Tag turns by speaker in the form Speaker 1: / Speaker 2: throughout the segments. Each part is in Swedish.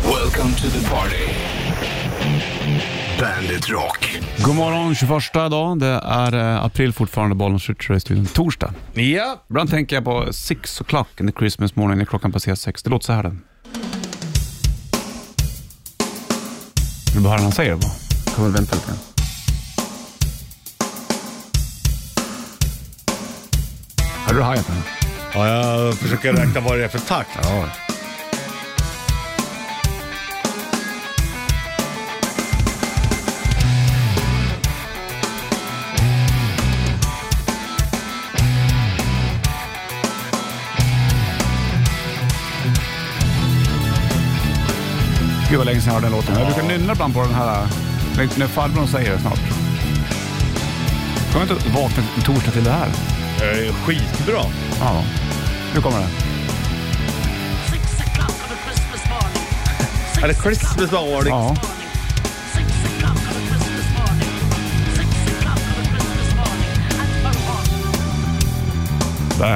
Speaker 1: Welcome to the party. Bandit Rock.
Speaker 2: God morgon, 21 dag. Det är eh, april fortfarande, bollen skjuter i studion. Torsdag.
Speaker 3: Ja.
Speaker 2: Ibland tänker jag på six o'clock in the Christmas morning när klockan passerar sex. Det låter så här. Den. Vill du bara höra vad han säger? Då? Kan väl vänta lite grann. Hörde du hajten?
Speaker 3: ja, jag försöker räkna vad det är för takt.
Speaker 2: Ja. Gud vad länge sedan jag hörde den låten. Jag brukar nynna ibland på den här eh, när- när farbrorn säger det snart. Kommer inte vakna en torsdag till det här?
Speaker 3: Det är ju Eh, skitbra.
Speaker 2: Ja. Nu kommer den.
Speaker 4: Six o'clock on a Christmas morning.
Speaker 3: Är det Christmas morning?
Speaker 2: Ja.
Speaker 4: Six o'clock on a Christmas morning. Six o'clock on a Christmas morning. At Vermont.
Speaker 2: Där ja.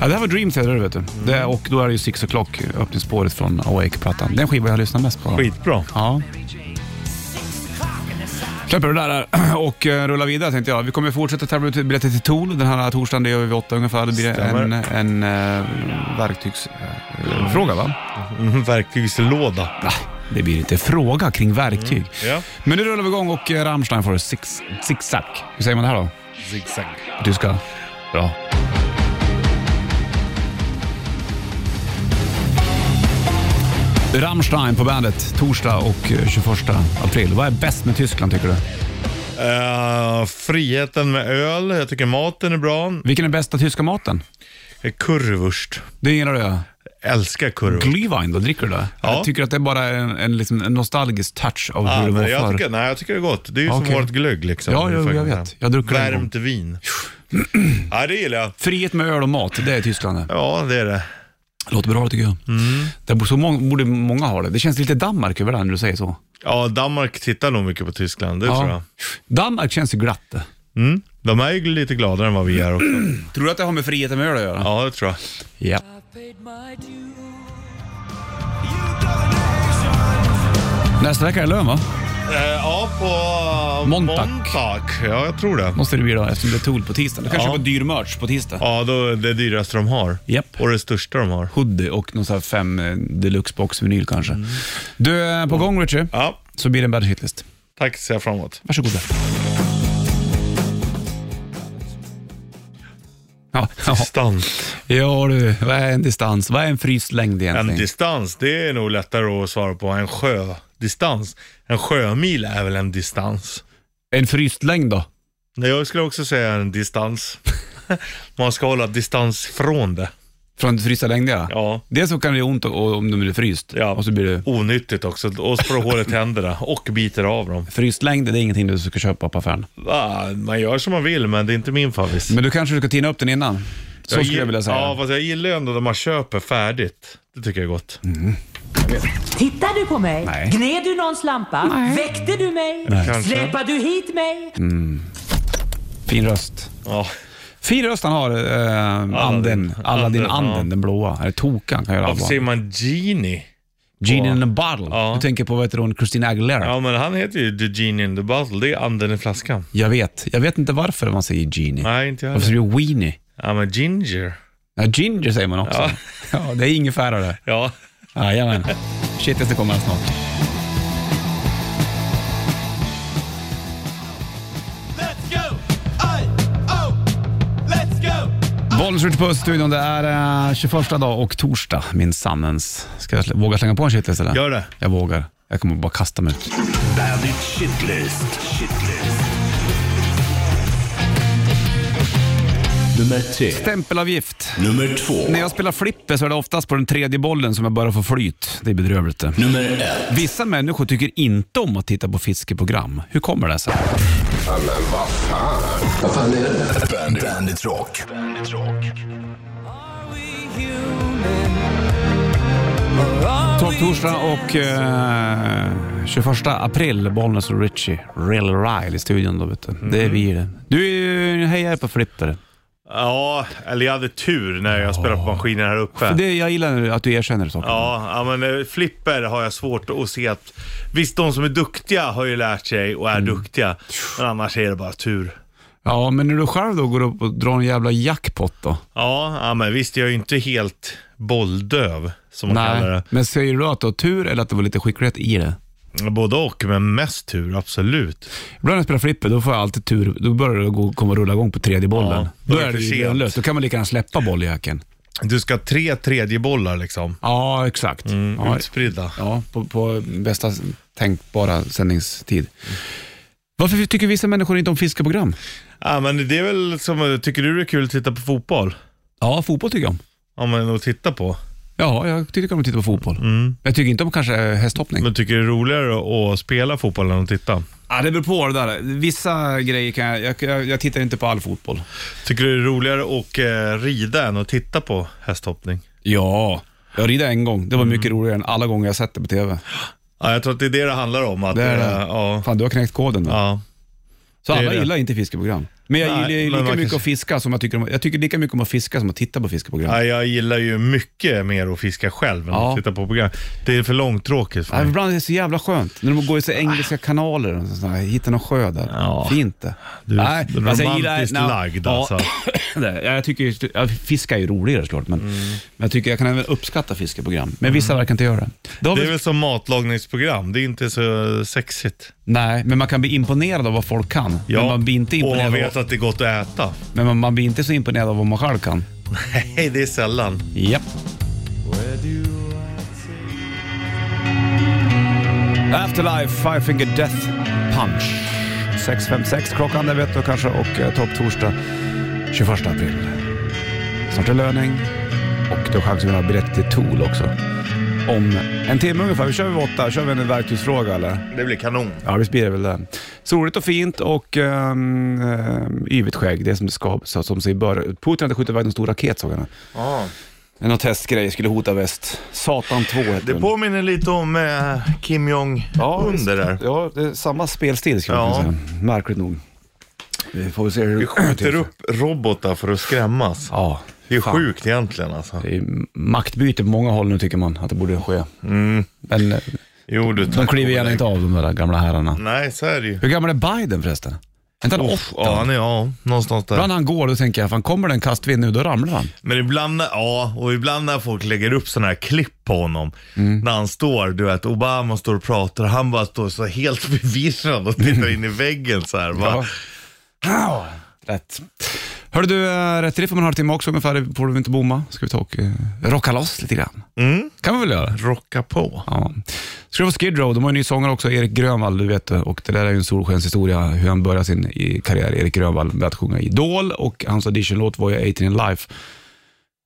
Speaker 2: ja. Det här var Dreams heter det, vet du. Det, och då är det ju Six O'Clock, öppningsspåret från Awake-plattan. Den skiva jag lyssnar mest på.
Speaker 3: Skitbra.
Speaker 2: Ja. Släpper det där där och eh, rullar vidare tänkte jag. Vi kommer fortsätta tävla ut biljetter till Tool den här torsdagen. Det gör vi vid åtta ungefär. Det blir en,
Speaker 3: Stämmer.
Speaker 2: en eh, verktygsfråga va?
Speaker 3: Mm, verktygslåda.
Speaker 2: Nej, det blir inte fråga kring verktyg.
Speaker 3: Mm. Ja.
Speaker 2: Men nu rullar vi igång och eh, Rammstein får six, zigzag. Hur säger man det här då?
Speaker 3: Zigzag.
Speaker 2: Du ska...
Speaker 3: Bra.
Speaker 2: Rammstein på bandet torsdag och eh, 21 april. Vad är bäst med Tyskland tycker du?
Speaker 3: Eh, friheten med öl. Jag tycker maten är bra. Eh,
Speaker 2: Vilken är bästa tyska maten?
Speaker 3: Kurvurst.
Speaker 2: Det gillar du?
Speaker 3: Älskar kurvurst.
Speaker 2: Glühwein, då dricker du det?
Speaker 3: Ja.
Speaker 2: Jag tycker att det är bara en, en, liksom, en nostalgisk touch av
Speaker 3: Ah,
Speaker 2: hur det var
Speaker 3: men jag,
Speaker 2: förr.
Speaker 3: tycker, nej, jag tycker det är gott. Det är ju
Speaker 2: Okej.
Speaker 3: som vårt glögg liksom.
Speaker 2: Ja, ja,
Speaker 3: Ungefär.
Speaker 2: jag vet. Jag druckit det en gång.
Speaker 3: Värmt vin. ja, det gillar jag.
Speaker 2: Frihet med öl och mat, det är Tyskland det.
Speaker 3: Ja, det är det.
Speaker 2: Låter bra tycker jag. Där bo- så må borde många ha det. Det känns lite Danmark över det här när du säger så.
Speaker 3: Ja, Danmark tittar nog mycket på Tyskland. Det tror jag.
Speaker 2: Danmark känns ju glatt det.
Speaker 3: Mm. De är ju lite gladare än vad vi är också.
Speaker 2: Tror du att det har med friheten med öl att göra?
Speaker 3: Ja, det tror jag.
Speaker 2: Ja. Nästa vecka är lön va?
Speaker 3: Eh, ja, på eh,
Speaker 2: Montag.
Speaker 3: Montag. Ja, jag tror det.
Speaker 2: Måste det bli då eftersom det är Tool på tisdag. Du kan
Speaker 3: Ja.
Speaker 2: köpa dyr merch på tisdag.
Speaker 3: Ja, då är det dyraste de har.
Speaker 2: Japp.
Speaker 3: Och det största de har.
Speaker 2: Hoodie och någon sån här fem eh, deluxe box vinyl kanske. Du, eh, på gång Richie,
Speaker 3: Ja,
Speaker 2: så blir det en bad hitlist.
Speaker 3: tack ser jag fram emot.
Speaker 2: Varsågoda. Ja, ja.
Speaker 3: Distans.
Speaker 2: ja du, vad är en distans? Vad är en fryst längd
Speaker 3: En
Speaker 2: egentligen?
Speaker 3: distans, det är nog lättare att svara på. En sjödistans. En sjömil är väl en distans?
Speaker 2: En fryst längd då?
Speaker 3: Nej, jag skulle också säga en distans. Man ska hålla distans från det.
Speaker 2: Från frysta längder?
Speaker 3: Ja.
Speaker 2: Dels så kan det göra ont och, och, om de blir fryst
Speaker 3: Ja.
Speaker 2: och så blir det
Speaker 3: Onyttigt också. Och språ hål i tänderna och biter av dem.
Speaker 2: Fryst längd det är ingenting du ska köpa på affären.
Speaker 3: Va? Man gör som man vill, men det är inte min favvis.
Speaker 2: Men du kanske ska tina upp den innan? Så skulle jag vilja säga.
Speaker 3: Ja, fast jag gillar ju ändå när man köper färdigt. Det tycker jag är gott.
Speaker 2: Mm.
Speaker 5: Tittade du på mig?
Speaker 2: Nej.
Speaker 5: Gned du någons lampa? Väckte du mig?
Speaker 3: Kanske. Mm.
Speaker 5: Släpade du hit mig?
Speaker 2: Fin röst.
Speaker 3: Ja.
Speaker 2: Fin röst han har, eh, anden. Aladdin-anden,
Speaker 3: ja.
Speaker 2: den blåa. Eller tokan kan jag
Speaker 3: Varför säger
Speaker 2: göra.
Speaker 3: man genie?
Speaker 2: Genie in a bottle.
Speaker 3: Ja.
Speaker 2: Du tänker på vad heter hon, Christina Aguilera?
Speaker 3: Ja, men han heter ju The Genie in the Bottle. Det är anden i flaskan.
Speaker 2: Jag vet. Jag vet inte varför man säger genie.
Speaker 3: Nej, inte jag
Speaker 2: Varför
Speaker 3: heller.
Speaker 2: säger du weenie?
Speaker 3: Ja, men ginger.
Speaker 2: Ja, ginger säger man också. Ja.
Speaker 3: Ja.
Speaker 2: det är ingefärare.
Speaker 3: Ja.
Speaker 2: Jajamän. Shit, det kommer här snart.
Speaker 6: Let's go! I oh! Let's go!
Speaker 2: Bollens skjuter på studion. Det är eh, 21 dag och torsdag, min sannens. Ska jag slä- våga slänga på en shitlist eller?
Speaker 3: Gör det.
Speaker 2: Jag vågar. Jag kommer bara kasta mig ut.
Speaker 1: Bandit Shitlist. Shitlist. Nummer tre.
Speaker 2: Stämpelavgift.
Speaker 1: Nummer två.
Speaker 2: När jag spelar flipper så är det oftast på den tredje bollen som jag börjar få flyt. Det är bedrövligt det.
Speaker 1: Nummer ett.
Speaker 2: Vissa människor tycker inte om att titta på fiskeprogram. Hur kommer det sig?
Speaker 1: Bandit, Bandit Rock. Bandit Rock.
Speaker 2: Topp torsdag och eh, 21 april, Bollnäs och
Speaker 3: Mm.
Speaker 2: Richie. Real Ryle i studion då vet du. Det är vi det. Du är ju en hejare på flipper.
Speaker 3: Ja, eller jag hade tur när jag spelade på maskinen här uppe.
Speaker 2: Det, jag gillar att du erkänner saker.
Speaker 3: Ja, ja, men eh, flipper har jag svårt att se att... Visst, de som är duktiga har ju lärt sig och är
Speaker 2: Mm.
Speaker 3: duktiga, men annars är det bara tur.
Speaker 2: Ja, men när du själv då går upp och drar en jävla jackpot då?
Speaker 3: Ja, ja men visst, jag är ju inte helt bolldöv, som man kallar det.
Speaker 2: Men säger du att du har tur eller att det var lite skicklighet i det?
Speaker 3: Både och, men mest tur, absolut.
Speaker 2: Ibland när jag spelar flipper, då får jag alltid tur. Då börjar det gå, komma och rulla igång på tredje bollen.
Speaker 3: Ja,
Speaker 2: då
Speaker 3: då är
Speaker 2: är det
Speaker 3: det för
Speaker 2: ju
Speaker 3: sent.
Speaker 2: lönlöst. Då kan man lika gärna släppa bolljäkeln.
Speaker 3: Du ska ha tre tredjebollar liksom,
Speaker 2: Ja, exakt.
Speaker 3: Mm.
Speaker 2: Ja,
Speaker 3: utspridda.
Speaker 2: ja på, på bästa tänkbara sändningstid. Varför tycker vissa människor inte om fiskeprogram?
Speaker 3: Ja, men det är väl som, tycker du det är kul att titta på fotboll?
Speaker 2: Ja, fotboll tycker jag om.
Speaker 3: Ja, men att titta på.
Speaker 2: Ja, jag tycker om att titta på fotboll. Jag tycker inte om kanske hästhoppning.
Speaker 3: Men tycker du det är roligare att spela fotboll än att titta?
Speaker 2: Ja, det beror på det där. Vissa grejer kan jag... Jag, jag, jag tittar inte på all fotboll.
Speaker 3: Tycker du det är roligare att eh, rida än att titta på hästhoppning?
Speaker 2: Ja, jag rider en gång. Det var mycket roligare än alla gånger jag sett det på TV.
Speaker 3: Ja, jag tror att det är det det handlar om. Att,
Speaker 2: Det är det.
Speaker 3: eh, Ja,
Speaker 2: Fan, du har knäckt koden. då.
Speaker 3: ja.
Speaker 2: Så
Speaker 3: det är
Speaker 2: alla
Speaker 3: det.
Speaker 2: gillar inte fiskeprogram. Men jag
Speaker 3: Nej,
Speaker 2: gillar ju
Speaker 3: men man
Speaker 2: lika
Speaker 3: kan
Speaker 2: mycket
Speaker 3: se-
Speaker 2: att fiska som jag tycker om... Jag tycker lika mycket om att fiska som att titta på fiskeprogram.
Speaker 3: ja, jag gillar ju mycket mer att fiska själv än
Speaker 2: Ja.
Speaker 3: att titta på program. Det är för långtråkigt
Speaker 2: Ja,
Speaker 3: för mig.
Speaker 2: ibland är det så jävla skönt. När de går i så engelska kanaler och sådär, hittar någon sjö där.
Speaker 3: Ja.
Speaker 2: Fint det.
Speaker 3: Du är
Speaker 2: fast jag
Speaker 3: romantiskt
Speaker 2: nej,
Speaker 3: lagd
Speaker 2: ja.
Speaker 3: alltså.
Speaker 2: Nej, Jag tycker ju- ja, fiska är ju roligare såklart, men,
Speaker 3: Mm.
Speaker 2: men jag tycker jag kan även uppskatta fiskeprogram. Men vissa verkar inte göra det. Då har
Speaker 3: Det
Speaker 2: vi,
Speaker 3: är väl som matlagningsprogram, det är inte så sexigt.
Speaker 2: Nej, men man kan bli imponerad av vad folk kan. Men man blir inte
Speaker 3: och man
Speaker 2: imponerad
Speaker 3: vet
Speaker 2: av,
Speaker 3: att det är gott att äta.
Speaker 2: men man, man blir inte så imponerad av vad man själv kan.
Speaker 3: Nej, det är sällan.
Speaker 2: Japp. Afterlife, Five Finger Death Punch. 6.56 klockan, det vet du kanske, och eh, topp torsdag 21 april. Snart är löning och du har chans att vinna biljett till Tool också. Om en timme ungefär, vi kör vid åtta, kör vi en verktygsfråga eller?
Speaker 3: Det blir kanon.
Speaker 2: Ja, visst blir det väl det. Soligt och fint och um, yvigt skägg, det är som det ska, så, som sig bör. Putin hade skjutit iväg en stor raket såg jag nu.
Speaker 3: Ja.
Speaker 2: Men Någon testgrej skulle hota väst. Satan 2 hette
Speaker 3: Det
Speaker 2: den.
Speaker 3: påminner lite om eh, Kim
Speaker 2: Ja, visst.
Speaker 3: Jong-Under där.
Speaker 2: Ja, det är samma spelstil skulle
Speaker 3: Ja.
Speaker 2: man kunna säga. Märkligt nog. Vi får väl se hur
Speaker 3: Vi
Speaker 2: det
Speaker 3: skjuter upp robotar för att skrämmas.
Speaker 2: Ja,
Speaker 3: Det är
Speaker 2: fan.
Speaker 3: sjukt egentligen alltså.
Speaker 2: Det är maktbyte på många håll nu tycker man att det borde ske.
Speaker 3: Mm.
Speaker 2: Men eh,
Speaker 3: Jo, du
Speaker 2: de kliver gärna inte av de där gamla herrarna.
Speaker 3: Nej, så är det ju.
Speaker 2: Hur gammal är Biden förresten? Är inte han 80?
Speaker 3: Ja, han är, ja, någonstans där.
Speaker 2: Ibland när han går då tänker jag, fan kommer det en kastvind nu då ramlar han.
Speaker 3: Men ibland, ja, och ibland när folk lägger upp sådana här klipp på honom.
Speaker 2: Mm.
Speaker 3: När han står, du vet, Obama står och pratar och han bara står så helt förvirrad och tittar in i väggen så här. Va?
Speaker 2: Ja. Rätt. Hörru du, eh, rätt riff om en halvtimme också ungefär, får du inte bomma. Ska vi ta och eh, rocka loss lite grann?
Speaker 3: Mm.
Speaker 2: kan vi väl göra.
Speaker 3: Rocka på.
Speaker 2: Ja. Ska det vara Skid Row, de har ju en ny sångare också, Erik Grönvall, du vet det. och det där är ju en solskenshistoria hur han började sin i- karriär, Erik Grönvall, med att sjunga Idol och hans auditionlåt var ju 18 in life.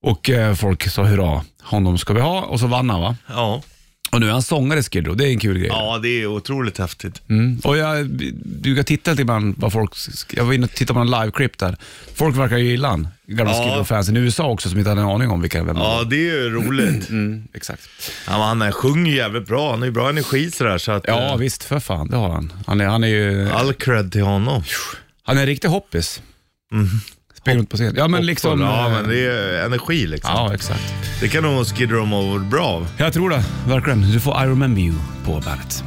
Speaker 2: Och eh, folk sa hurra, honom ska vi ha och så vann han va.
Speaker 3: Ja.
Speaker 2: Och nu är han sångare i Skid Row, det är en kul grej.
Speaker 3: ja, det är otroligt häftigt.
Speaker 2: Mm. Och jag brukar titta lite ibland vad folk, jag var inne och tittade på en live-klipp där. Folk verkar ju gilla han, gamla
Speaker 3: Ja.
Speaker 2: Skid Row-fansen i USA också som inte hade en aning om vilka vem det
Speaker 3: Ja,
Speaker 2: var.
Speaker 3: det är ju roligt.
Speaker 2: Mm, exakt.
Speaker 3: Ja, men han sjunger jävligt bra. Han har ju bra energi sådär. Så att,
Speaker 2: Ja,
Speaker 3: eh,
Speaker 2: visst för fan, det har han. Han är, han är ju...
Speaker 3: all cred till honom.
Speaker 2: Han är en riktig hoppis. Springer runt på scen. Ja, men liksom...
Speaker 3: Mm. Ja,
Speaker 2: eh,
Speaker 3: men det är energi liksom.
Speaker 2: ja, exakt.
Speaker 3: Det kan nog Skid Row må bra av.
Speaker 2: Jag tror det, verkligen. Du får I remember you på bandet.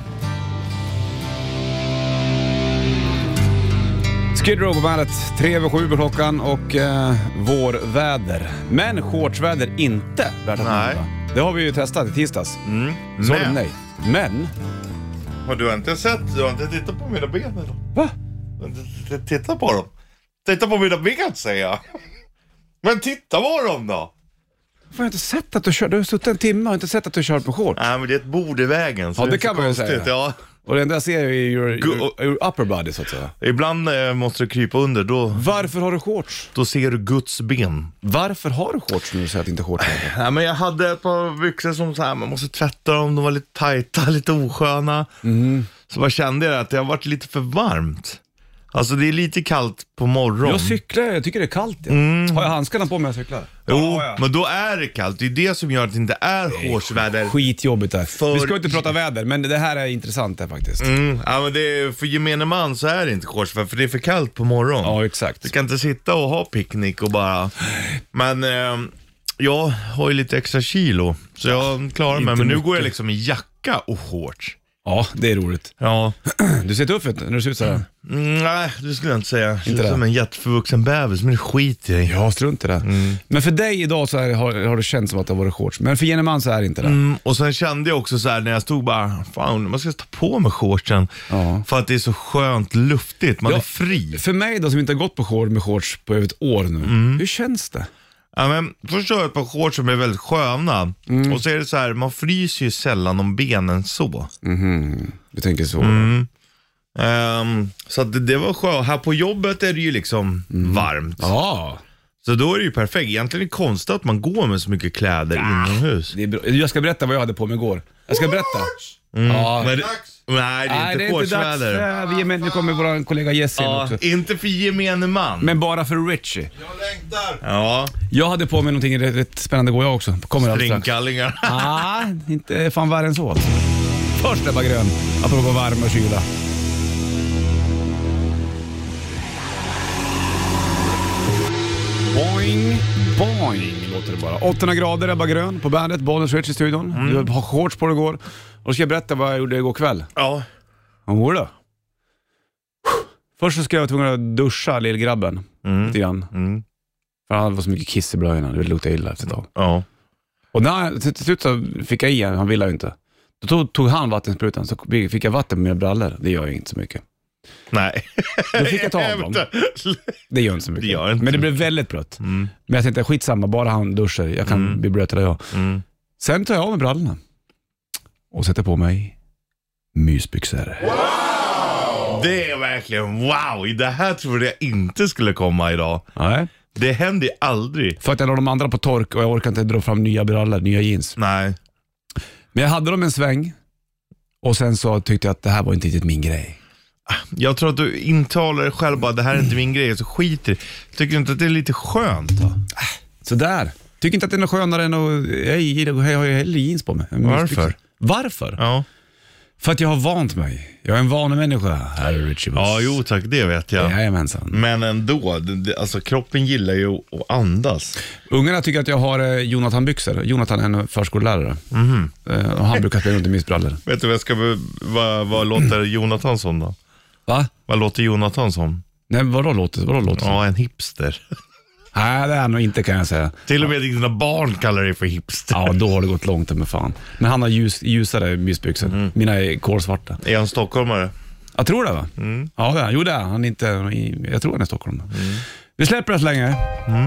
Speaker 2: Skid Row på bandet, Tre över sju på klockan och eh, vårväder. Men shortsväder inte värt att
Speaker 3: Nej.
Speaker 2: nämna. Det har vi ju testat i tisdags.
Speaker 3: Mm.
Speaker 2: Så men. nej. Men,
Speaker 3: Har du inte sett? Du har inte tittat på mina ben eller?
Speaker 2: va?
Speaker 3: Men t- t- Titta på dem. Titta på mina ben säger jag. Men titta på dem då.
Speaker 2: Varför har jag inte sett att du kör? Du har suttit en timme och inte sett att du kör på shorts.
Speaker 3: Nej men det är ett bord i vägen. Så
Speaker 2: Ja, det
Speaker 3: är inte
Speaker 2: kan man ju
Speaker 3: konstigt.
Speaker 2: säga.
Speaker 3: Ja.
Speaker 2: Och det enda jag ser är ju your,
Speaker 3: Gu-
Speaker 2: your, your upper body så att säga.
Speaker 3: Ibland eh, måste du krypa under. Då,
Speaker 2: Varför har du shorts?
Speaker 3: då ser du Guds ben.
Speaker 2: Varför har du shorts när du säger att inte shorts är
Speaker 3: Nej, men jag hade ett par byxor som så här, man måste tvätta dem. De var lite
Speaker 2: Mhm.
Speaker 3: tajta, lite osköna. Så bara kände jag att det har varit lite för varmt. Alltså det är lite kallt på morgonen.
Speaker 2: Jag cyklar, jag tycker det är kallt. ja.
Speaker 3: Mm.
Speaker 2: Har jag handskarna på mig när jag cyklar?
Speaker 3: Jo,
Speaker 2: Ja, ja.
Speaker 3: men då är det kallt. Det är det som gör att det inte är shortsväder.
Speaker 2: Skitjobbigt det här.
Speaker 3: För-
Speaker 2: Vi ska ju inte prata väder, men det här är intressant här faktiskt.
Speaker 3: Mm, ja, men det är, för gemene man så är det inte shortsväder, för det är för kallt på morgonen.
Speaker 2: Ja, exakt.
Speaker 3: Du kan inte sitta och ha picknick och bara... Men eh, jag har ju lite extra kilo, så jag klarar mig.
Speaker 2: Inte
Speaker 3: Men nu
Speaker 2: mycket.
Speaker 3: går jag liksom i jacka och shorts.
Speaker 2: Ja, det är roligt.
Speaker 3: Ja,
Speaker 2: Du ser tuff ut när du ser ut sådär.
Speaker 3: mm, nej det skulle jag inte säga. Inte det
Speaker 2: det?
Speaker 3: är som en jätteförvuxen bebis, men det skiter jag i.
Speaker 2: Ja, strunt i det. Mm. Men för dig idag så är, har, har det känts som att det har varit shorts, men för gemene man så är det inte det.
Speaker 3: Mm, och sen kände jag också så här när jag stod bara, fan man ska ta på mig shortsen.
Speaker 2: Ja.
Speaker 3: För att det är så skönt luftigt, man
Speaker 2: Ja.
Speaker 3: är fri.
Speaker 2: För mig då som inte har gått på shorts med shorts på över ett år nu,
Speaker 3: Mm.
Speaker 2: hur känns det?
Speaker 3: Ja, men först har jag ett par shorts som är väldigt sköna.
Speaker 2: Mm.
Speaker 3: Och så är det så här, man fryser ju sällan om benen så.
Speaker 2: Du tänker så.
Speaker 3: Mm. Ehm, så att det, det var skönt. Här på jobbet är det ju liksom varmt.
Speaker 2: Mm. Ja,
Speaker 3: Så då är det ju perfekt. Egentligen är det konstigt att man går med så mycket kläder inomhus.
Speaker 2: det är bra. Jag ska berätta vad jag hade på mig igår. Jag ska berätta. Ja.
Speaker 3: Mm. Men, nej, det är
Speaker 2: Nej, det
Speaker 3: inte
Speaker 2: är inte dags.
Speaker 3: shortsväder.
Speaker 2: Eh, Vi är med, nu kommer vår kollega Jesse in
Speaker 3: Ja,
Speaker 2: också.
Speaker 3: inte för gemene man.
Speaker 2: Men bara för Richie.
Speaker 3: ja,
Speaker 2: Jag hade på mig någonting rätt, rätt spännande igår jag också. Kommer alldeles strax.
Speaker 3: springkallingar.
Speaker 2: Ah, inte fan värre än så. Först Ebba Grön, apropå varm och kyla. Boing, boing låter det bara. 800 grader Ebba Grön på bandet, Bonus Rich i studion. Du har shorts på dig igår. Och ska jag berätta vad jag gjorde igår kväll.
Speaker 3: Ja.
Speaker 2: Jodå. Först så ska jag vara tvungen att duscha lillgrabben lite grann.
Speaker 3: Mm.
Speaker 2: För han hade så mycket kiss i blöjorna, det luktade illa efter ett tag.
Speaker 3: ja.
Speaker 2: Och när, till, till slut så fick jag i han, han ville ju inte. Då tog, tog han vattensprutan, så fick jag vatten på mina brallor. Det gör ju inte så mycket.
Speaker 3: Nej.
Speaker 2: Då fick jag ta av dem. Det gör inte så mycket.
Speaker 3: Det gör inte Mm.
Speaker 2: Men det blev väldigt blött. Men jag tänkte, skitsamma, bara han duschar. Jag kan bli blötare jag.
Speaker 3: Mm.
Speaker 2: Sen tar jag av mig brallorna och sätter på mig mysbyxor.
Speaker 3: Det är verkligen wow. Det här trodde jag inte skulle komma idag.
Speaker 2: Nej.
Speaker 3: Det händer ju aldrig.
Speaker 2: För att jag la de andra på tork och jag orkar inte dra fram nya brallor, nya jeans.
Speaker 3: Nej.
Speaker 2: Men jag hade dem en sväng och sen så tyckte jag att det här var inte riktigt min grej.
Speaker 3: Jag tror att du intalar dig själv bara, det här är inte min grej, så skit i det. Tycker du inte att det är lite skönt då?
Speaker 2: Sådär. Tycker inte att det är något skönare än att... Jag, gillar- jag har ju hellre jeans på mig. än
Speaker 3: Varför?
Speaker 2: mysbyxor. Varför?
Speaker 3: Ja.
Speaker 2: För att jag har vant mig. Jag är en vanemänniska. Här är Richie Buss.
Speaker 3: Ja, jo tack, det vet jag.
Speaker 2: Jajamensan.
Speaker 3: Men ändå, det, det, alltså kroppen gillar ju att andas.
Speaker 2: Ungarna tycker att jag har eh, Jonathan-byxor. Jonathan är en förskollärare. Eh, och han brukar spela runt i mysbrallor.
Speaker 3: Vet du vad jag ska, be- vad, vad låter Jonathan som då?
Speaker 2: Va?
Speaker 3: Vad låter Jonathan som?
Speaker 2: Nej, vadå låter vadå låter
Speaker 3: Ja, en hipster.
Speaker 2: Nej, det är han nog inte kan jag säga.
Speaker 3: Till och med dina barn kallar dig för hipster.
Speaker 2: Ja, då har det gått långt med fan. Men han har ljus, ljusare mysbyxor. Mina är kolsvarta.
Speaker 3: Är han stockholmare?
Speaker 2: Jag tror det va?
Speaker 3: Mm.
Speaker 2: Ja, det är han. Jo, det är han. han. är Inte, jag tror han är i Stockholm. Vi släpper det så länge.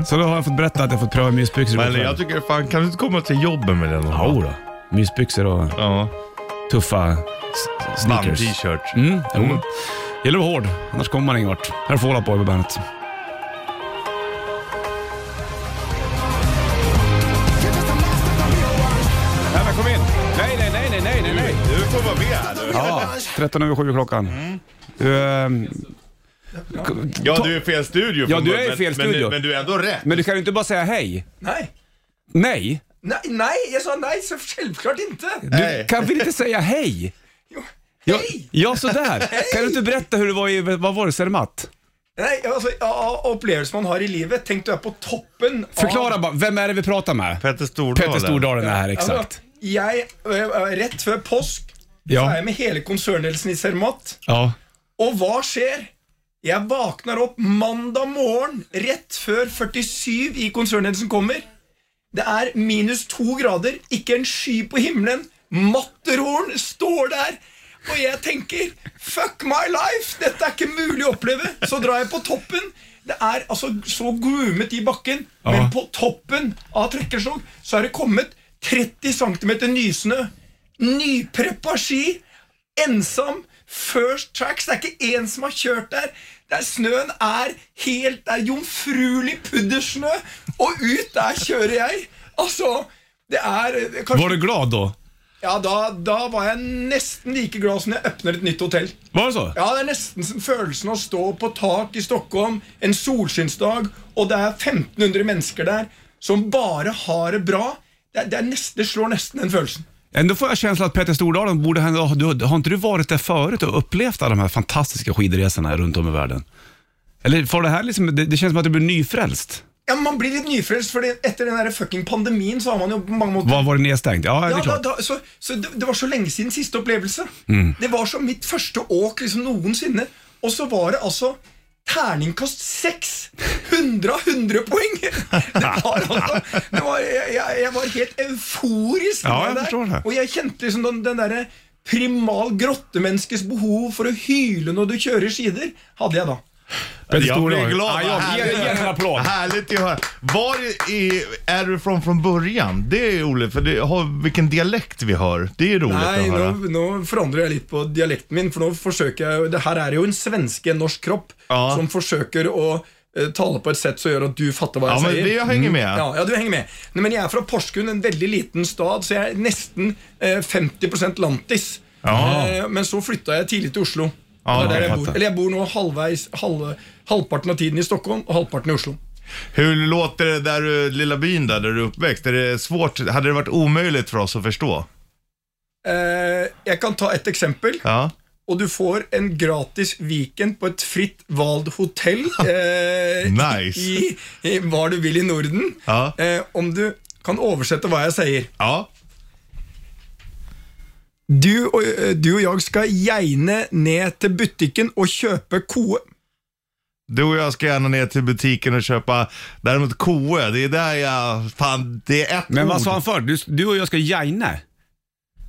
Speaker 2: Så då har jag fått berätta att jag fått pröva mysbyxor.
Speaker 3: Mm. Men
Speaker 2: igår
Speaker 3: jag
Speaker 2: kväll.
Speaker 3: tycker fan, kan du inte komma till jobbet med den?
Speaker 2: Ja, då. Mysbyxor och
Speaker 3: Ja.
Speaker 2: tuffa s- sneakers.
Speaker 3: Band-t-shirt.
Speaker 2: Mm, jo. Gäller att vara hård, annars kommer man ingen vart. Här får Fall på över bandet. Nej, men kom in. Nej, nej, nej, nej, nej, nej, nej.
Speaker 3: Du får vara med här nu.
Speaker 2: Ja, 13 över 7 klockan. Du,
Speaker 3: Mm.
Speaker 2: ehm,
Speaker 3: Ja, du är i fel studio.
Speaker 2: Ja,
Speaker 3: från
Speaker 2: du
Speaker 3: början,
Speaker 2: är i fel
Speaker 3: men,
Speaker 2: studio.
Speaker 3: Men, men du är ändå rätt.
Speaker 2: men du kan ju inte bara säga hej.
Speaker 7: Nej.
Speaker 2: Nej.
Speaker 7: nej, nej, jag sa nej så självklart inte.
Speaker 2: Du
Speaker 3: Nej.
Speaker 2: kan väl inte säga hej? Ja,
Speaker 7: Hej!
Speaker 2: ja sådär. Kan du inte berätta hur det var i, vad var det, Zermatt?
Speaker 7: Nej, alltså, ja, opplevelser man har i livet, tänk du är på toppen
Speaker 2: Förklara
Speaker 7: av...
Speaker 2: bara, vem är det vi pratar med?
Speaker 3: Petter Stordalen.
Speaker 2: Petter Stordalen är här,
Speaker 7: Altså,
Speaker 2: exakt.
Speaker 7: Jeg, eh, rett før påsk, så
Speaker 2: Ja.
Speaker 7: er jeg med hele konsernledelsen i Cermat.
Speaker 2: Ja.
Speaker 7: Og hva skjer? Jeg våkner opp mandag morgen, rett før 47 i konsernledelsen kommer. Det er minus to grader, ikke en sky på himmelen. Matterhorn står der. Og jeg tenker fuck my life! Dette er ikke mulig å oppleve. Så drar jeg på toppen. Det er altså så gloomet i bakken, men på toppen av Trekkerskog så er det kommet 30 cm nysnø. Nypreppa ski ensam. First Tracks. Det er ikke én som har kjørt der. Der snøen er helt Det er jomfruelig puddersnø, og ut der kjører jeg. Altså, det er eh, kanskje
Speaker 2: Var du glad då?
Speaker 7: Ja, da, da var jeg nesten like glad som når jeg åpner et nytt hotell.
Speaker 2: Var det så?
Speaker 7: Ja, Det er nesten som følelsen av å stå på tak i Stockholm en solskinnsdag, og det er 1500 mennesker der som bare har det bra. Det, er- det, er nesten, det slår nesten den følelsen.
Speaker 2: Ändå får jag känslan att Peter Stordalen borde... ha- Du, har inte du varit där förut och upplevt alla de här fantastiska skidresorna runt om i världen? Eller får det här liksom... Det, det känns som att du blir nyfrälst.
Speaker 7: Ja, men Man blir litt nyfrelst, for etter den der fucking pandemien så har man jo på mange måter
Speaker 2: Var, var det nedstängt? Ja, det
Speaker 7: ja,
Speaker 2: är
Speaker 7: da,
Speaker 2: klart. Mm.
Speaker 7: da, så, så det, det var så lenge siden siste opplevelse. Det var som mitt første åk liksom noensinne. Og så var det alltså altså terningkast seks! 100 av 100 poeng! Det var altså, det var, jeg, jeg- jeg var helt euforisk.
Speaker 2: Ja, jeg
Speaker 7: der.
Speaker 2: forstår det.
Speaker 7: Og jeg kjente liksom den, den derre primal grottemenneskes behov for å hyle når du kjører skider, hadde jeg da.
Speaker 2: Peter
Speaker 3: Jag blir
Speaker 2: Stordalen.
Speaker 3: glad.
Speaker 2: Ja, jag ger, ger en applåd.
Speaker 3: Härligt att höra. Var i, är du från från början? Det är roligt, för det, har, vilken dialekt vi hör. Det är roligt
Speaker 7: Nei,
Speaker 3: att höra.
Speaker 7: nå, nå forandrer jeg litt på dialekten min, for nå forsøker jeg Det her er jo en svenske, en norsk kropp,
Speaker 3: Ja.
Speaker 7: som forsøker å eh, tale på et sett som gjør at du fatter
Speaker 3: Ja,
Speaker 7: hva jeg
Speaker 3: men
Speaker 7: sier. Mm.
Speaker 3: vi hänger med.
Speaker 7: Ja, ja, du henger med. Nei, men jeg er fra Porsgrunn, en veldig liten stad, så jeg er nesten eh, 50 lantis.
Speaker 3: Ja.
Speaker 7: Eh, men så flytta jeg tidlig til Oslo.
Speaker 3: Ja,
Speaker 7: Det er der
Speaker 3: jeg
Speaker 7: jeg bor.
Speaker 3: fattar.
Speaker 7: Eller jeg bor nå halvveis, halv, halvparten av tiden i Stockholm og halvparten i Oslo.
Speaker 3: Hur låter det där du, lilla byn där, där du är uppväxt? Är det svårt? Hade det varit omöjligt för oss att förstå?
Speaker 7: Eh, jeg kan ta et eksempel.
Speaker 3: Ja.
Speaker 7: og du får en gratis weekend på et fritt valgt hotell eh,
Speaker 3: Nice.
Speaker 7: i, i hva du vil i Norden.
Speaker 3: Ja.
Speaker 7: Eh, om du kan oversette hva jeg sier.
Speaker 3: Ja.
Speaker 7: Du og, eh, du og jeg skal gjerne ned til butikken og kjøpe koe.
Speaker 3: Du och jag ska gärna ner till butiken och köpa, däremot koe, det är där jag, fan det är ett
Speaker 2: Men vad
Speaker 3: ord.
Speaker 2: sa han förr? Du, du och jag ska jaina.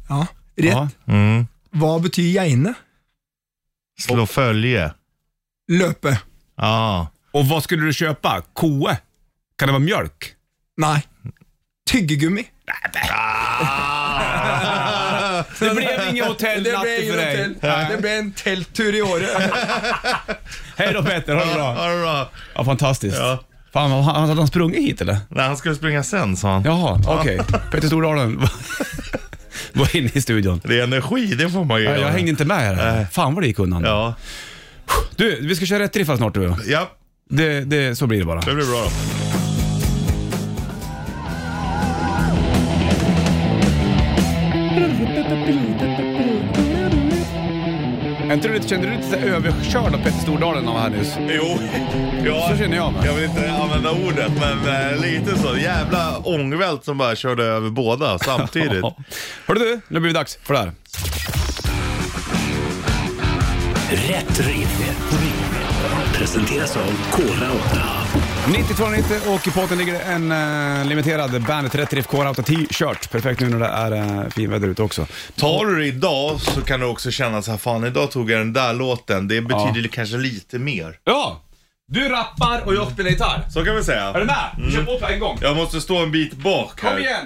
Speaker 7: Ja, rett.
Speaker 2: Ja.
Speaker 3: Mm.
Speaker 7: Hva betyr gjerne?
Speaker 3: Slå följe.
Speaker 7: Løpe.
Speaker 3: Ja.
Speaker 2: Och vad skulle du köpa? Koe? Kan det vara mjölk?
Speaker 7: Nei. Tyggegummi.
Speaker 2: Det blev ingen
Speaker 7: Eh,
Speaker 2: hotellnatte
Speaker 7: ingen
Speaker 2: för dig.
Speaker 7: hotell. det ble en telttur i året.
Speaker 2: Hej då Peter, ha det bra.
Speaker 3: Ja, det är bra.
Speaker 2: Ja, fantastiskt.
Speaker 3: Ja.
Speaker 2: Fan, vad- han- hade han sprungit hit eller?
Speaker 3: Nej, han skulle springa sen sa han.
Speaker 2: Jaha, okej. Peter Stordalen var inne i studion.
Speaker 3: Det är energi, det får man ju
Speaker 2: Ja,
Speaker 3: göra.
Speaker 2: Jag hängde inte med här. Fan vad det gick undan.
Speaker 3: Ja,
Speaker 2: Du, vi ska köra rätt riffar snart du och jag.
Speaker 3: ja
Speaker 2: det, det, Så blir det bara.
Speaker 3: det blir bra då.
Speaker 2: Är inte du lite- Kände du dig lite så här överkörd av Peter Stordalen när han var här nyss?
Speaker 3: Jo, ja,
Speaker 2: Så känner jag med.
Speaker 3: Jag vill inte använda ordet, men eh, lite så. Jävla ångvält som bara körde över båda samtidigt.
Speaker 2: Hörru du, nu blir det dags för det här.
Speaker 1: Rätt riff. Presenteras av Kora 8.
Speaker 2: 9290 och i potten ligger det en eh, limiterad Bandet Rätt Riff Core Auto T-shirt. Perfekt nu när det är eh, finväder ute också.
Speaker 3: Tar du det idag så kan du också känna så här, fan idag tog jag den där låten. Det betyder kanske lite mer.
Speaker 2: Ja! Du rappar och jag spelar gitarr.
Speaker 3: Så kan vi säga.
Speaker 2: Är du med? Vi kör på på en gång.
Speaker 3: Jag måste stå en bit bak här.
Speaker 2: Kom igen!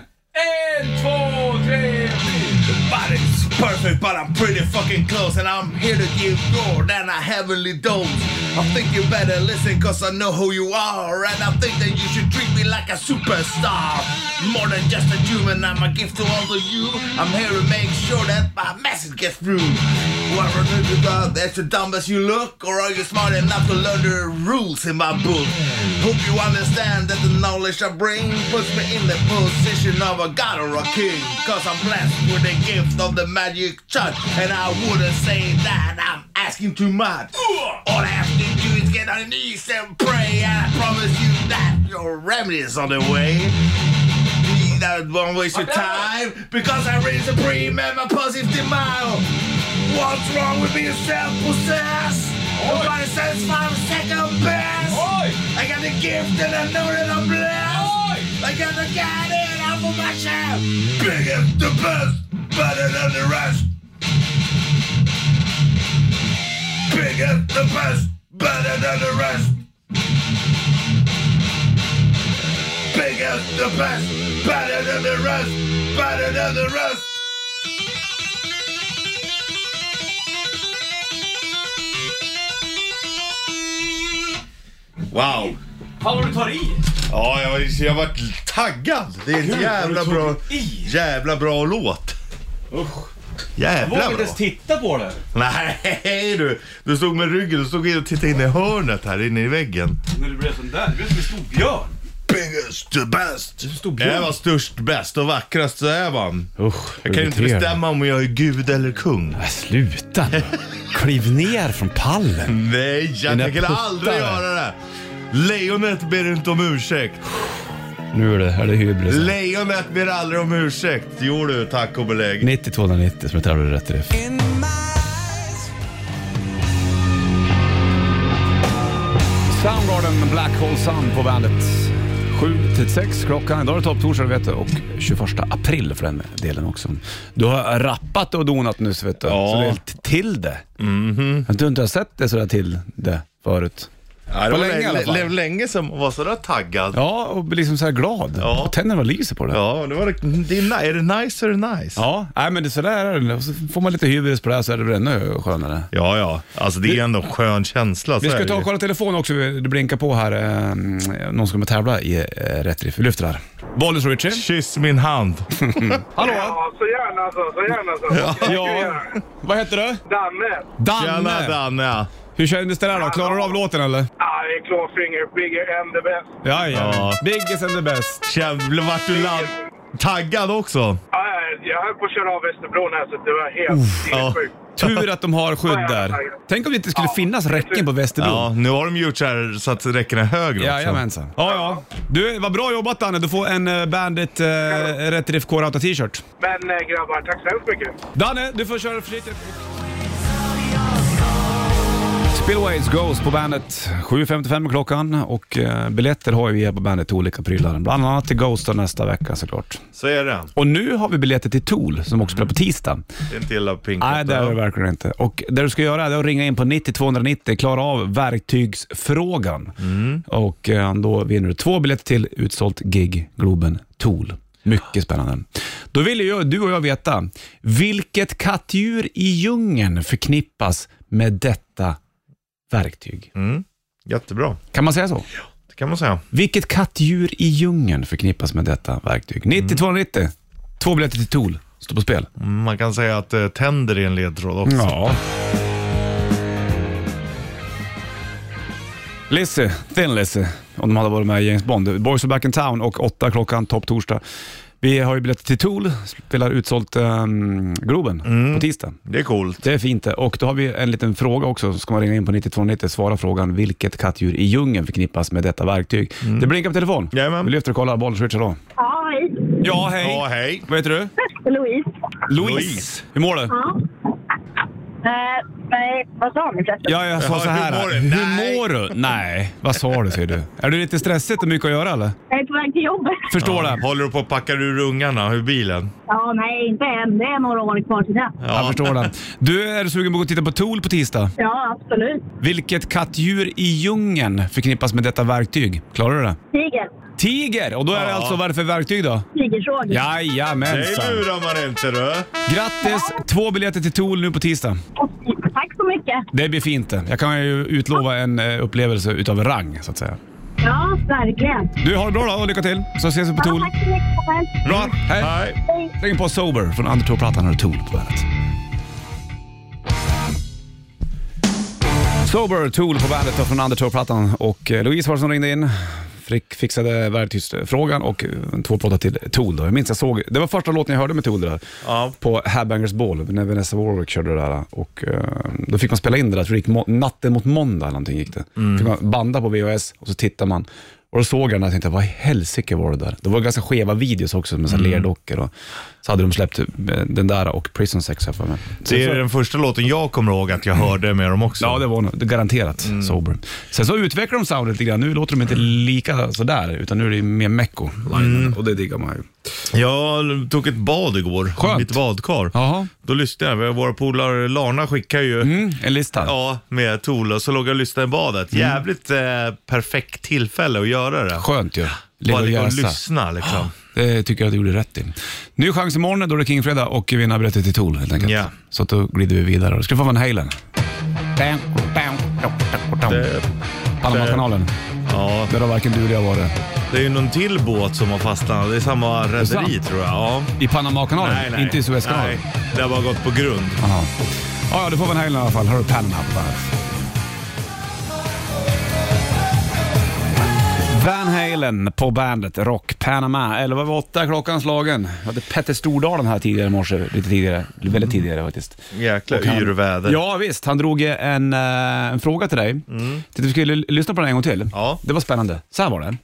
Speaker 2: En, två, tre, fyra.
Speaker 3: Body's perfect, but I'm pretty fucking close. And I'm here to give more than a heavenly dose. I think you better listen, cause I know who you are. And I think that you should treat me like a superstar. More than just a human, I'm a gift to all of you. I'm here to make sure that my message gets through. Whoever knew you thought that you're dumb as you look, or are you smart enough to learn the rules in my book? Hope you understand that the knowledge I bring puts me in the position of a god or a king. Cause I'm blessed with the gift of the magic touch. And I wouldn't say that I'm asking too much. All I have to do is get on your knees and pray. And I promise you that your remedy is on the way. That won't waste your time because I reign supreme and my positive denial. What's wrong with being self-possessed? Nobody says I'm second best. I got the gift and I know that I'm blessed. I got the guide and I'm for myself. Biggest, the best, better than the rest. Biggest, the best, better than the rest. Biggest, the best, better than the rest, better than the rest. Wow!
Speaker 2: Fan vad du tar i!
Speaker 3: Ja, jag, var- jag vart taggad. Det är en jävla bra, jävla bra låt.
Speaker 8: Jag
Speaker 3: Jävla
Speaker 8: vågar inte
Speaker 3: bra.
Speaker 8: ens titta på den.
Speaker 3: Nej du. Du stod med ryggen, du stod in och tittade in i hörnet här inne i väggen.
Speaker 8: När du blev sån där, du blev som en stor björn.
Speaker 3: Biggest, the best.
Speaker 8: Stor björn.
Speaker 3: Jag var störst, bäst och vackrast, så här var han.
Speaker 2: Usch,
Speaker 3: Jag kan ju inte
Speaker 2: irriterande.
Speaker 3: bestämma om jag är gud eller kung.
Speaker 2: Nej, sluta nu. Kliv ner från pallen.
Speaker 3: Nej, jag
Speaker 2: Dina
Speaker 3: tänker
Speaker 2: puttar.
Speaker 3: aldrig göra det. Lejonet ber inte om ursäkt.
Speaker 2: Nu är det, är det hybris.
Speaker 3: Lejonet ber aldrig om ursäkt. Jo du, tack och belägg.
Speaker 2: 90-290 som jag tror du rätt i det. Soundgarden med Black Hole Sun på bandet. 7 till 6 klockan. Idag är det topptorsdag vet du och 21 april för den delen också. Du har rappat och donat nyss vet du.
Speaker 3: Ja. Mhm.
Speaker 2: Så det är t- till det. Att du inte har sett det sådär till det förut.
Speaker 3: Ja, det
Speaker 2: På
Speaker 3: var
Speaker 2: länge i alla fall.
Speaker 3: länge, länge som var sådär taggad. Ja.
Speaker 2: Ja, och blir liksom såhär glad.
Speaker 3: Ja.
Speaker 2: Och tänderna bara lyser på det.
Speaker 3: det var, det är, ni- är det nice så är det nice.
Speaker 2: Ja, nej men det är sådär är det. Och Så får man lite hybris på det här så är det väl ännu skönare.
Speaker 3: ja, ja. Alltså det är ändå en skön känsla. så
Speaker 2: Vi
Speaker 3: är
Speaker 2: ska
Speaker 3: det
Speaker 2: ta
Speaker 3: ju.
Speaker 2: och kolla telefon också. Det blinkar på här. eh, Någon ska med tävla i eh, rätt riff. Vi lyfter här. Bollens Richie.
Speaker 3: Kyss min hand.
Speaker 2: Hallå!
Speaker 9: så gärna så, så gärna så.
Speaker 2: Ja. Vad heter du?
Speaker 9: Danne!
Speaker 3: Tjena
Speaker 2: Danne!
Speaker 3: Danne. Ja,
Speaker 2: Hur kändes det där då? Klarar du av låten eller?
Speaker 9: Ah, det är Clawfinger, bigger and the best.
Speaker 2: Jajamän.
Speaker 3: Ja.
Speaker 2: Biggest and the best.
Speaker 3: Jävlar, vart du land... taggad också.
Speaker 9: Ah, jag- jag höll på att köra av Västerbron här så det var helt,
Speaker 3: Ja.
Speaker 9: helt sjukt.
Speaker 2: Tur att de har skydd där. Tänk om det inte skulle finnas räcken på Västerbro.
Speaker 3: Ja, nu har de gjort så här så att räckena är högre också.
Speaker 2: Jajamensan. Ja, ja. Du, vad bra jobbat Danne. Du får en eh, Bandit eh, Rätt Riff K-Rauta t-shirt.
Speaker 9: Men eh, grabbar, tack så hemskt mycket.
Speaker 2: Danne, du får köra försiktigt. Spillways Ghost på bandet. 7.55 är klockan och eh, biljetter har ju vi här på bandet till olika prylar. Bland annat till Ghost då nästa vecka såklart.
Speaker 3: Så är det.
Speaker 2: Och nu har vi biljetter till Tool som också spelar på tisdag.
Speaker 3: Det är inte illa pinkat.
Speaker 2: Nej, det är det verkligen inte. Och det du ska göra är att ringa in på 90 290, klara av verktygsfrågan. Och eh, då vinner du två biljetter till utsålt gig, Globen, Tool. Mycket spännande. Då vill ju du och jag veta, vilket kattdjur i djungeln förknippas med detta verktyg?
Speaker 3: Jättebra.
Speaker 2: Kan man säga så?
Speaker 3: Det kan man säga.
Speaker 2: Vilket kattdjur i djungeln förknippas med detta verktyg? 90 290, två biljetter till Tool, står på spel.
Speaker 3: Man kan säga att eh, tänder är en ledtråd också.
Speaker 2: Ja. Lizzy, Thin Lizzy, om de hade varit med i James Bond. Boys are back in town och åtta klockan, topp torsdag. Vi har ju biljetter till Tool, spelar utsålt um, Globen på tisdag.
Speaker 3: Det är coolt.
Speaker 2: Det är fint det. Och då har vi en liten fråga också. Ska man ringa in på 9290 svara frågan vilket kattdjur i djungeln förknippas med detta verktyg. Det blinkar på telefon.
Speaker 3: Jajamän.
Speaker 2: Vi lyfter och kollar. Bollen switchar då.
Speaker 10: Ja, hej.
Speaker 2: Ja, hej.
Speaker 3: Ja, hej.
Speaker 2: Vad heter du?
Speaker 10: Louise.
Speaker 2: Louise.
Speaker 3: Louise.
Speaker 2: Hur mår du?
Speaker 10: Eh, nej, vad sa ni förresten?
Speaker 2: Ja, jag sa
Speaker 3: Ja,
Speaker 2: så här.
Speaker 3: hur mår du?
Speaker 2: Hur
Speaker 3: Nej.
Speaker 2: mår du? Nej. Vad sa du, säger du? Är du lite stressigt och mycket att göra eller?
Speaker 10: Jag är på väg till jobbet.
Speaker 2: Förstår
Speaker 3: Ja,
Speaker 2: det.
Speaker 3: Håller du på att packa ur ungarna ur bilen?
Speaker 10: Ja, nej, inte än. Det är några år kvar till det.
Speaker 2: Jag förstår det. Du, är du sugen på att gå och titta på Tool på tisdag?
Speaker 10: Ja, absolut.
Speaker 2: Vilket kattdjur i djungeln förknippas med detta verktyg? Klarar du det?
Speaker 10: Tiger.
Speaker 2: Tiger! Och då är det
Speaker 3: Ja.
Speaker 2: alltså vad är det för verktyg då?
Speaker 10: Tigersåg.
Speaker 3: Nej,
Speaker 2: Jajamensan!
Speaker 3: lurar man inte du.
Speaker 2: Grattis! Två biljetter till Tool nu på tisdag.
Speaker 10: Tack så mycket.
Speaker 2: Det blir fint det. Jag kan ju utlova en eh, upplevelse utav rang, så att säga.
Speaker 10: Ja, verkligen.
Speaker 2: Du, har det bra då och lycka till, så ses vi på
Speaker 10: Ja,
Speaker 2: Tool.
Speaker 10: tack så mycket. själv.
Speaker 2: Bra! Hej!
Speaker 3: Nej.
Speaker 10: Hej.
Speaker 2: Släng på Sober från Undertow-plattan och Tool på bandet. Sober, Tool på bandet då från Undertow-plattan och eh, Louise var det som ringde in. Frick fixade verktygsfrågan och eh, två plåtar till Tool. Då. Jag minns jag såg, det var första låten jag hörde med Tool det där.
Speaker 3: Ja.
Speaker 2: På Headbangers Ball, när Vanessa Warwick körde det där. Och, eh, då fick man spela in det där, tror det gick må- natten mot måndag eller någonting gick det. fick man banda på VHS och så tittar man. Och då såg jag den och tänkte, vad i helsike var det där? Det var ganska skeva videos också med mm. lerdockor. Och, så hade de släppt eh, den där och Prison Sex här för mig. Så-
Speaker 3: Det
Speaker 2: så-
Speaker 3: är den första låten jag kommer ihåg att jag hörde med dem också.
Speaker 2: Ja, det var nog det är garanterat
Speaker 3: Mm.
Speaker 2: sober. Sen så utvecklar de soundet lite grann. Nu låter de inte lika sådär, utan nu är det mer mecko.
Speaker 3: Mm.
Speaker 2: Och det diggar man ju.
Speaker 3: Jag tog ett bad igår.
Speaker 2: Skönt.
Speaker 3: Mitt badkar.
Speaker 2: Jaha.
Speaker 3: Då lyssnade jag. Våra polare Lana skickar ju
Speaker 2: Mm, en lista.
Speaker 3: ja, med Tool och så låg jag och lyssnade i badet. Jävligt eh, perfekt tillfälle att göra det.
Speaker 2: Skönt ju. Ligga
Speaker 3: Bara
Speaker 2: och
Speaker 3: ligga och
Speaker 2: jäsa.
Speaker 3: lyssna liksom.
Speaker 2: Det tycker jag att du gjorde rätt i. Ny chans imorgon, då är det Kingfredag och vinna biljetter till Tool helt enkelt.
Speaker 3: Ja.
Speaker 2: Så att då glider vi vidare. Då ska du få Van Halen. Panamakanalen.
Speaker 3: Ja,
Speaker 2: Där har varken du eller jag varit.
Speaker 3: Det är ju någon till båt som har fastnat. Det är samma rederi
Speaker 2: sant?
Speaker 3: tror jag. Ja.
Speaker 2: I Panamakanalen?
Speaker 3: Nej, nej.
Speaker 2: Inte i Suezkanalen?
Speaker 3: Nej, det har bara gått på grund.
Speaker 2: Jaha. Ja, ja, du får vara en helg i alla fall. Här har du Panama på bandet. Van Halen på bandet Rock Panama. 11.08 klockan slagen. Jag hade Petter Stordalen här tidigare i morse. Lite tidigare. Väldigt tidigare faktiskt.
Speaker 3: Jäkla
Speaker 2: Och han-
Speaker 3: yrväder.
Speaker 2: Ja visst, han drog en, eh, en fråga till dig. Mm. Tänkte vi skulle l- lyssna på den en gång till. Ja. Det var spännande. Så här var den.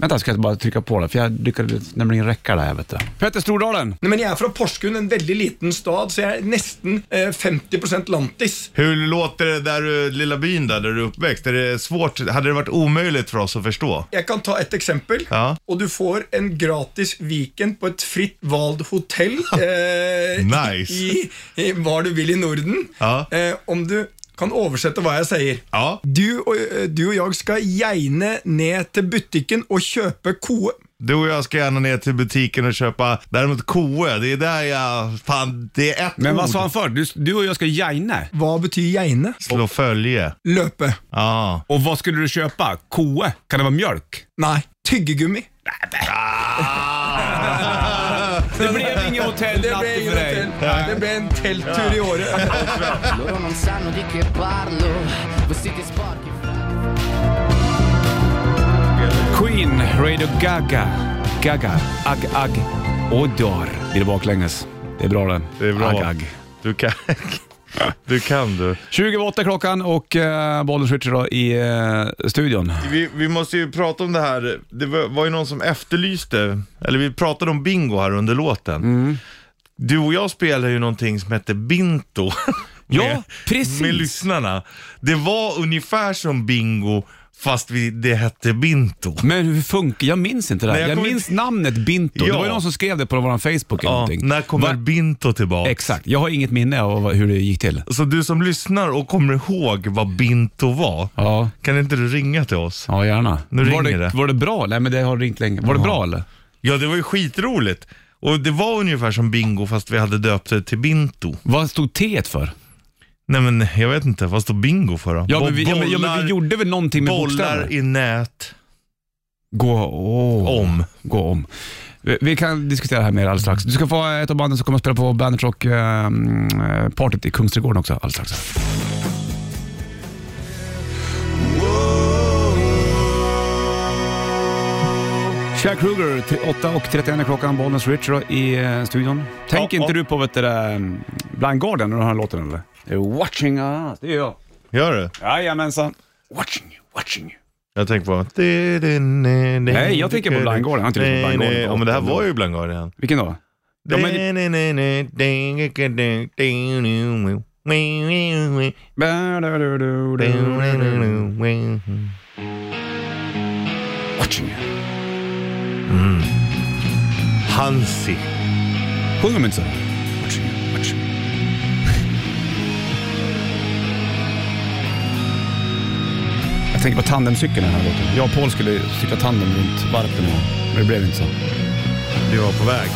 Speaker 2: Vänta, ska jag bara trycka på den? För jag lyckades nämligen räcka det här vet du. Petter Stordalen.
Speaker 7: Nej, men jag är från Porsgrunn, en väldigt liten stad, så jag är nästan eh, 50% lantis.
Speaker 3: Hur låter det där du, lilla byn där, där du är uppväxt? Är det svårt? Hade det varit omöjligt för oss att förstå?
Speaker 7: Jag kan ta ett exempel.
Speaker 3: Ja.
Speaker 7: Och du får en gratis weekend på ett fritt vald hotell. eh,
Speaker 3: Nice.
Speaker 7: I, i var du vill i Norden.
Speaker 3: Ja.
Speaker 7: Eh, om du kan översätta vad jag säger.
Speaker 3: Ja.
Speaker 7: Du, och, eh, du och jag ska gärna ner till butiken och köpa ko.
Speaker 3: Du och jag ska gärna ner till butiken och köpa, däremot koe, det är där jag, fan det är ett
Speaker 2: Men
Speaker 3: ord.
Speaker 2: vad sa han för? Du, du och jag ska jajna.
Speaker 7: Vad betyder gärna?
Speaker 3: Slå följe.
Speaker 7: Löpe.
Speaker 3: Ja.
Speaker 2: Och vad skulle du köpa? Koe? Kan det vara mjölk?
Speaker 7: Nej, tyggegummi.
Speaker 2: Ah. Det blev ingen
Speaker 7: Det
Speaker 2: hotellnatt
Speaker 7: blev
Speaker 2: för
Speaker 7: ingen
Speaker 2: dig.
Speaker 7: hotell. Det blev en tälttur i Åre.
Speaker 4: Loro non sanno di che parlo. Vestiti sporchi.
Speaker 2: Queen, Radio Gaga. Gaga, Ag Ag Odor. Blir det baklänges? Det är bra det.
Speaker 3: Det är bra.
Speaker 2: Ag Ag.
Speaker 3: Du kan, du kan du.
Speaker 2: 28 klockan och eh, Bollnäs Richard då i eh, studion.
Speaker 3: Vi, vi måste ju prata om det här, det var, var ju någon som efterlyste, eller vi pratade om bingo här under låten.
Speaker 2: Mm.
Speaker 3: Du och jag spelar ju någonting som heter Binto.
Speaker 2: Ja, precis.
Speaker 3: Med lyssnarna. Det var ungefär som bingo, fast vi, det hette Binto.
Speaker 2: Men hur funkar Jag minns inte det här.
Speaker 3: Nej, jag
Speaker 2: jag
Speaker 3: kommer
Speaker 2: minns namnet Binto. Det
Speaker 3: Ja.
Speaker 2: var ju någon som skrev det på vår Facebook eller
Speaker 3: Ja,
Speaker 2: någonting.
Speaker 3: när kommer Binto tillbaka?
Speaker 2: Exakt. Jag har inget minne av vad- hur det gick till.
Speaker 3: Så du som lyssnar och kommer ihåg vad Binto var,
Speaker 2: Ja,
Speaker 3: kan inte du ringa till oss?
Speaker 2: ja gärna.
Speaker 3: Nu
Speaker 2: var,
Speaker 3: ringer det.
Speaker 2: var det bra? Nej, men det har ringt länge. Var det bra eller?
Speaker 3: Ja, det var ju skitroligt. Och det var ungefär som bingo fast vi hade döpt det till Binto.
Speaker 2: Vad stod T för?
Speaker 3: Nej men jag vet inte, vad står bingo för då?
Speaker 2: Ja
Speaker 3: Bo-
Speaker 2: men, vi, ja, men, ja, men
Speaker 3: bollar-
Speaker 2: vi gjorde väl någonting med
Speaker 3: Bollar
Speaker 2: bokstäver?
Speaker 3: i nät.
Speaker 2: Gå åh.
Speaker 3: Om.
Speaker 2: Gå om. Vi, vi kan diskutera det här mer alldeles strax. Du ska få ha ett av banden som kommer att spela på Bandit Rock eh, partyt i Kungsträdgården också alldeles strax. Chad Kruger, 8.31 är klockan, Bollnäs Richard i eh, studion. Tänker
Speaker 3: Ja,
Speaker 2: inte
Speaker 3: ja.
Speaker 2: du på vet du, det där, ehm, Blind Guardian när du hör låten eller? Det är Watching us, det gör jag.
Speaker 3: Gör du?
Speaker 2: Jajamensan. Watching you, watching you.
Speaker 3: Jag tänker på... Nej,
Speaker 2: jag tänker på Blind Guardian. Jag har inte lyssnat på Blind Guardian.
Speaker 3: Ja men det här var ju Blind Guardian.
Speaker 2: Vilken då? Ja, men det- Watching you.
Speaker 3: Hansi.
Speaker 2: Sjunger de inte så? Jag tänker på tandemcykeln i den här låten. Jag och Paul skulle cykla tandem runt varpen en gång, men det blev inte så.
Speaker 3: Vi var på väg.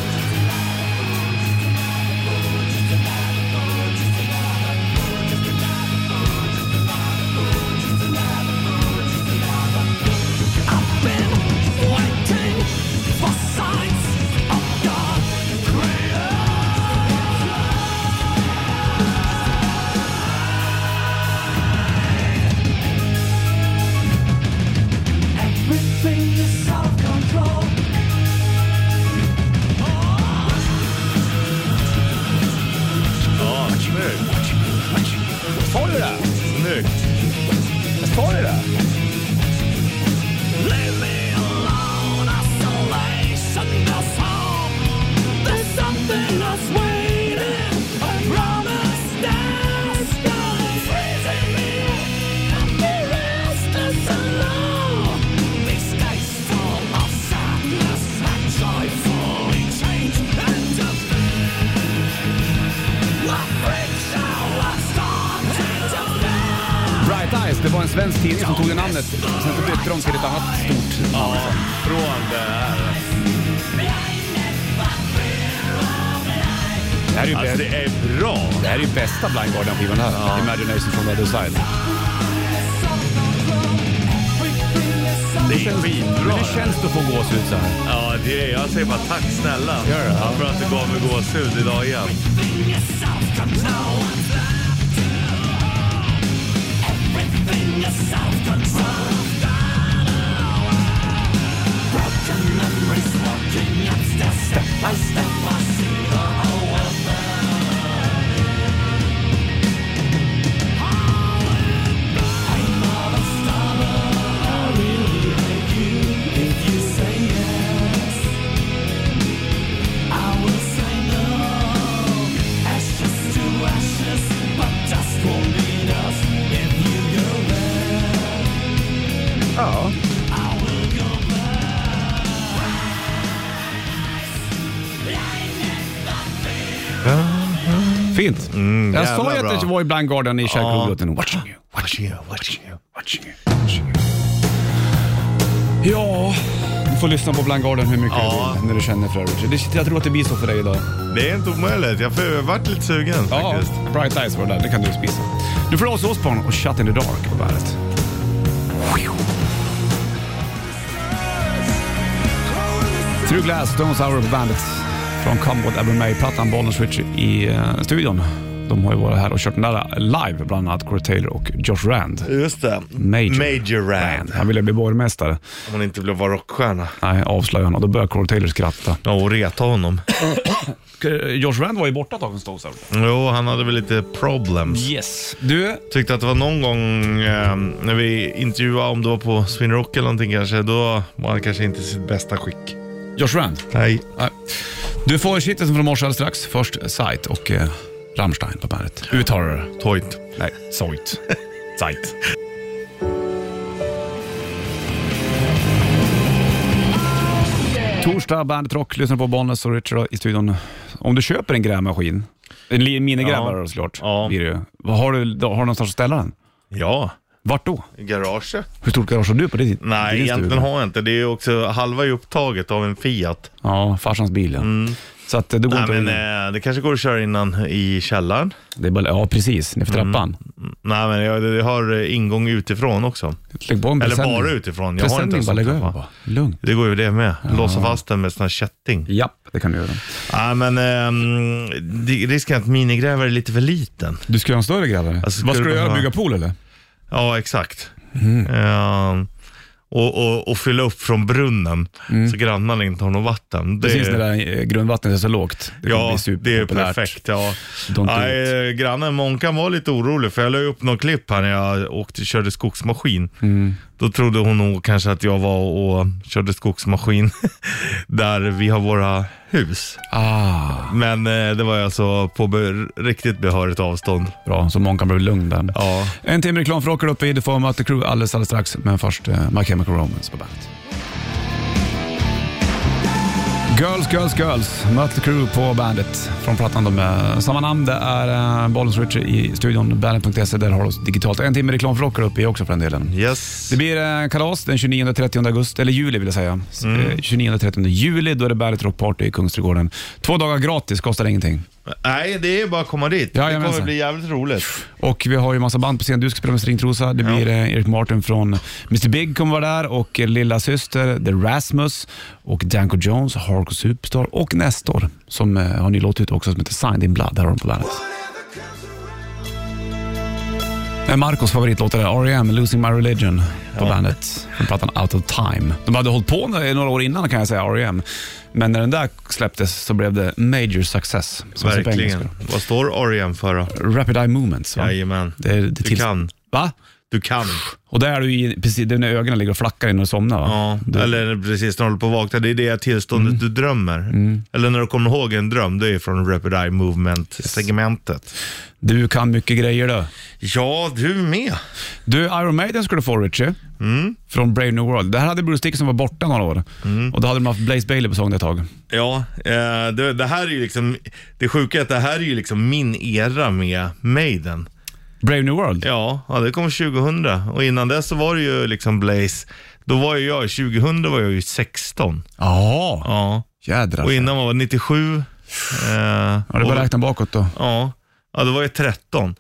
Speaker 3: Ja, snyggt.
Speaker 2: Sa du det?
Speaker 3: Snyggt.
Speaker 2: Sa du det? Bright Eyes, det var en svensk tidning som tog det namnet. Sen så bytte de till ett annat stort namn. sen.
Speaker 3: Från det här.
Speaker 2: Det här är ju,
Speaker 3: Alltså
Speaker 2: bä-
Speaker 3: det är bra.
Speaker 2: det här är ju bästa Blind Guardian-skivan här. Imagination from the other side.
Speaker 11: Everything is so
Speaker 3: Det är skitbra.
Speaker 12: det känns att få gåshud så här.
Speaker 3: Ja, det är, jag säger bara tack snälla för att du gav mig gåshud idag igen.
Speaker 11: Step by step, I see the whole world
Speaker 2: Ja. Fint.
Speaker 12: Mm,
Speaker 2: jag sa ju att det var i Blind Guardian i kärlkrogglåten. Watching you, watching you, watching you, watching you. Ja, du får lyssna på Blind Guardian hur mycket du vill när du känner för det. Richard. det. Jag tror att det blir så för dig idag.
Speaker 3: Det är inte omöjligt. Jag har varit lite sugen
Speaker 2: ja,
Speaker 3: faktiskt.
Speaker 2: Bright Eyes var det där. Det kan du spisa. Nu får du oss Osbourne och Shut In The Dark på bandet. Through Glass, Stones Hour på bandet. Från Come What Ever May-plattan, Bollnäs Richie i eh, studion. De har ju varit här och kört den där eh, live, bland annat Corey Taylor och Josh Rand.
Speaker 3: Just det.
Speaker 2: Major,
Speaker 3: Major Rand.
Speaker 2: Han ville bli borgmästare.
Speaker 3: Om man inte vill vara rockstjärna.
Speaker 2: Nej, avslöjade han och då började Corey Taylor skratta.
Speaker 3: Ja, och reta honom.
Speaker 2: eh, Josh Rand var ju borta ett tag från Stones Hour.
Speaker 3: Jo, han hade väl lite problems.
Speaker 2: Yes. Du?
Speaker 3: Tyckte att det var någon gång eh, när vi intervjuade, om det var på Swin Rock eller någonting kanske, då var han kanske inte i sitt bästa skick.
Speaker 2: Josh Rand?
Speaker 3: Nej.
Speaker 2: Du får shitlisten från morse alldeles strax. Först Sight och eh, Rammstein på bandet. Uttalar du det?
Speaker 3: Toit.
Speaker 2: Nej, Soit. Sight. Torsdag, Bandet Rock, lyssnar på Bollnäs och Richard i studion. Om du köper en grävmaskin, en li- minigrävare då såklart, blir det ju. Vad Har du, då- har du någonstans att ställa den?
Speaker 3: Ja.
Speaker 2: Vart då?
Speaker 3: I garaget?
Speaker 2: Hur stort garage har du på din
Speaker 3: Nej,
Speaker 2: din
Speaker 3: egentligen
Speaker 2: stuga?
Speaker 3: har jag inte. Det är ju också halva är upptaget av en Fiat.
Speaker 2: Ja, farsans bil ja. Så att eh, det går
Speaker 3: Mm. Nej,
Speaker 2: inte
Speaker 3: men
Speaker 2: att...
Speaker 3: eh, det kanske går att köra innan i källaren.
Speaker 2: Det är bara, ja, precis. Nerför trappan.
Speaker 3: Mm. Nej, men jag, det har eh, ingång utifrån också.
Speaker 2: Lägg på en
Speaker 3: Eller
Speaker 2: presenning.
Speaker 3: bara utifrån. Jag har
Speaker 2: Presenning
Speaker 3: inte ens
Speaker 2: bara lägg
Speaker 3: en
Speaker 2: över
Speaker 3: trappa.
Speaker 2: bara. Lugnt.
Speaker 3: Det går ju det med. Låsa fast den med sån här kätting.
Speaker 2: Japp, det kan du göra.
Speaker 3: Nej, men ehm, det- risken är att minigrävare är lite för liten.
Speaker 2: Du ska göra en större grävare?
Speaker 3: Alltså,
Speaker 2: Vad ska du göra? Bygga pool eller?
Speaker 3: Ja, exakt. Ehm, och, och, och fylla upp från brunnen så grannarna inte har något vatten. Det-
Speaker 2: Mm. Precis när det där eh, grundvattnet är så lågt. Det kommer
Speaker 3: ja,
Speaker 2: bli
Speaker 3: det är
Speaker 2: superpopulärt.
Speaker 3: perfekt. Ja.
Speaker 2: Don't do
Speaker 3: Nej, eh, grannen Monkan var lite orolig för jag la ju upp något klipp här när jag åkte, körde skogsmaskin.
Speaker 2: Mm.
Speaker 3: Då trodde hon nog kanske att jag var och körde skogsmaskin där vi har våra hus.
Speaker 2: Ah,
Speaker 3: Men eh, det var ju alltså på be- riktigt behörigt avstånd.
Speaker 2: Bra, så Monkan blev lugn där.
Speaker 3: Ja.
Speaker 2: En timme reklam för Rocker upp i Du får möta crew alldeles, alldeles strax. Men först eh, My Chemical Romance på bandet. Girls, Girls, Girls. Mötley Crüe på bandet från plattan de eh, samma namn. Det är eh, Bollens Richie i studion, bandet.se. E. Där har du oss digitalt. En timme reklam för Rocker upp i också för den delen.
Speaker 3: Yes.
Speaker 2: Det blir eh, kalas den 29-30 augusti, eller juli vill jag säga. Eh,
Speaker 3: Mm.
Speaker 2: 29-30 juli, då är det Bandet Rock Party i Kungsträdgården. Två dagar gratis, kostar ingenting.
Speaker 3: Nej, det är bara att komma dit. det kommer
Speaker 2: Jajamensan.
Speaker 3: bli jävligt roligt.
Speaker 2: Och vi har ju massa band på scen. Du ska spela med Stringtrosa. Det blir eh, Erik Martin från Mr Big kommer vara där och eh, Lilla Syster, The Rasmus och Danko Jones, Harko Superstar och Nestor som eh, har en ny låt ute också som heter Signed In Blood. Här har de på bandet. Eh, Marcos favoritlåt är där, R.E.M. Losing My Religion på bandet. Från plattan Out of Time. De hade hållit på nå- några år innan kan jag säga, R.E.M. Men när den där släpptes så blev det major success. som det står på
Speaker 3: Verkligen.
Speaker 2: engelska.
Speaker 3: Vad står R.E.M. för då?
Speaker 2: Rapid Eye Movements va?
Speaker 3: Jajamän.
Speaker 2: Det, är- det
Speaker 3: Du
Speaker 2: tills-
Speaker 3: kan.
Speaker 2: Va?
Speaker 3: Du kan.
Speaker 2: Och där är du i, precis det är när ögonen ligger och flackar innan du somnar va?
Speaker 3: Ja, Mm. eller precis när du håller på att vakna. Det är det tillståndet du drömmer. Eller när du kommer ihåg en dröm, det är från Rapid Eye Movement-segmentet.
Speaker 2: Du kan mycket grejer du.
Speaker 3: Ja, du med.
Speaker 2: Du, Iron Maiden skulle du få Richie.
Speaker 3: Mm.
Speaker 2: Från Brave New World. Det här hade Bruce Dickinson var borta några år. Och då hade de haft Blaze Bailey på sång ett tag.
Speaker 3: Ja, eh, det, det här är ju liksom, det sjuka är att det här är ju liksom min era med Maiden.
Speaker 2: Brave New World?
Speaker 3: Ja, ja det kom 2000 och innan dess så var det ju liksom Blaze. Då var ju jag, 2000 var jag ju 16.
Speaker 2: Ja.
Speaker 3: Ja.
Speaker 2: Jädrar.
Speaker 3: Och innan man var 97. Eh, ja,
Speaker 2: Ja, det är bara att räkna bakåt då.
Speaker 3: Ja, ja det var ju 13.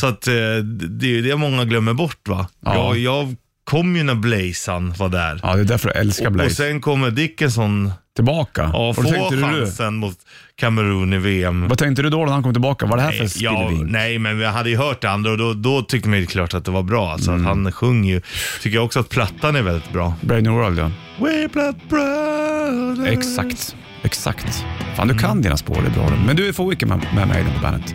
Speaker 3: Så att eh, det det är ju det många glömmer bort va.
Speaker 2: Mm. Ja.
Speaker 3: Jag, jag kom ju när Blazan var där.
Speaker 2: Ja, det är därför jag älskar
Speaker 3: Och,
Speaker 2: Blaze.
Speaker 3: och sen kommer Dickinson
Speaker 2: Tillbaka?
Speaker 3: Ja,
Speaker 2: Och då tänkte
Speaker 3: få
Speaker 2: du-
Speaker 3: chansen mot Kamerun i VM.
Speaker 2: Vad tänkte du då när han kom tillbaka? Vad är det här för
Speaker 3: Ja,
Speaker 2: spillvin?
Speaker 3: nej, men vi hade ju hört det andra och då, då tyckte man ju klart att det var bra. Alltså, att
Speaker 2: Mm.
Speaker 3: han sjöng ju. Tycker jag också att plattan är väldigt bra.
Speaker 2: Brave New World ja.
Speaker 3: We blood brothers.
Speaker 2: Exakt, exakt. Fan, du kan
Speaker 3: Mm.
Speaker 2: dina spår, det är bra. Men du är för Wickham med, med Maiden på bandet.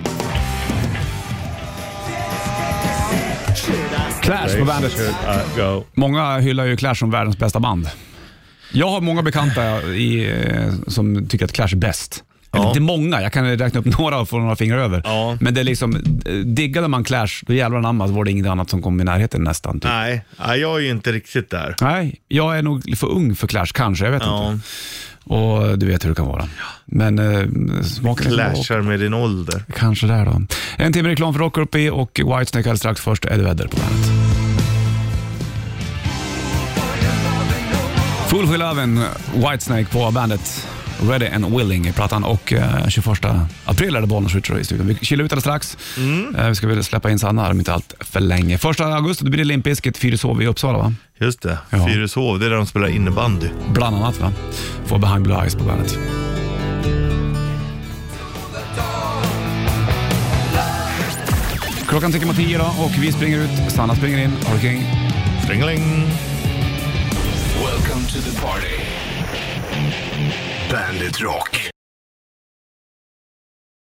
Speaker 2: Clash på bandet.
Speaker 3: Go.
Speaker 2: Många hyllar ju Clash som världens bästa band. Jag har många bekanta i, eh, som tycker att Clash är bäst. Eller Inte många, jag kan räkna upp några och få några fingrar över. Men det är liksom, eh, diggade man Clash, då jävlar anamma så var det inget annat som kom i närheten nästan. Typ.
Speaker 3: Nej, nej, jag är ju inte riktigt där.
Speaker 2: Nej, jag är nog för ung för Clash kanske, jag vet
Speaker 3: Ja.
Speaker 2: inte. Och du vet hur det kan vara. Men eh, smaken är som
Speaker 3: Clashar med din ålder.
Speaker 2: Kanske där då. En timme reklam för Rocker uppe och Whitesnake alldeles strax. Först Eddie Vedder på bandet. Full for Lovin', Whitesnake på bandet. Ready and Willing i plattan och eh, 21 april är det Bollnäs Ritcher i studion. Vi kilar ut alldeles strax. Eh, vi ska väl släppa in Sanna här om inte allt för länge. Första augusti då blir det Limp Bizkit, Fyrishov i Uppsala va?
Speaker 3: Just det, Fyrishov, det är där de spelar innebandy.
Speaker 2: Bland annat va? Får Behind Blue Eyes på bandet. Klockan tickar mot tio då och vi springer ut. Sanna springer in. Har du kring?
Speaker 3: Stringeling.
Speaker 1: Welcome to the party. Bandit Rock.